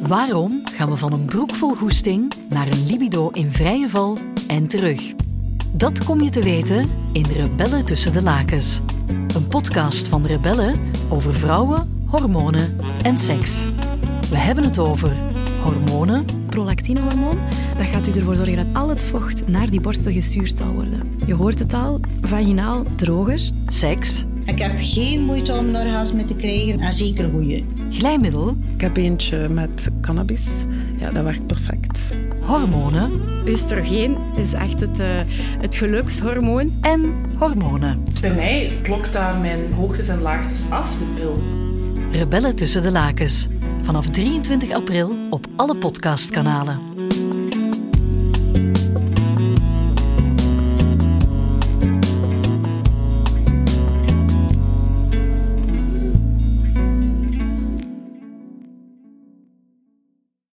Waarom gaan we van een broek vol goesting naar een libido in vrije val en terug? Dat kom je te weten in Rebellen tussen de lakens. Een podcast van Rebellen over vrouwen, hormonen en seks. We hebben het over hormonen, prolactinehormoon. Dat gaat dus ervoor zorgen dat al het vocht naar die borstel gestuurd zal worden. Je hoort het al, vaginaal droger. seks, Ik heb geen moeite om een orgasme te krijgen en zeker goeie. glijmiddel, Ik heb eentje met cannabis. Ja, dat werkt perfect. hormonen Oestrogeen is echt het, eh, het gelukshormoon. en hormonen. Bij mij blokt dat mijn hoogtes en laagtes af, de pil. Rebellen tussen de lakens. Vanaf 23 april op alle podcastkanalen.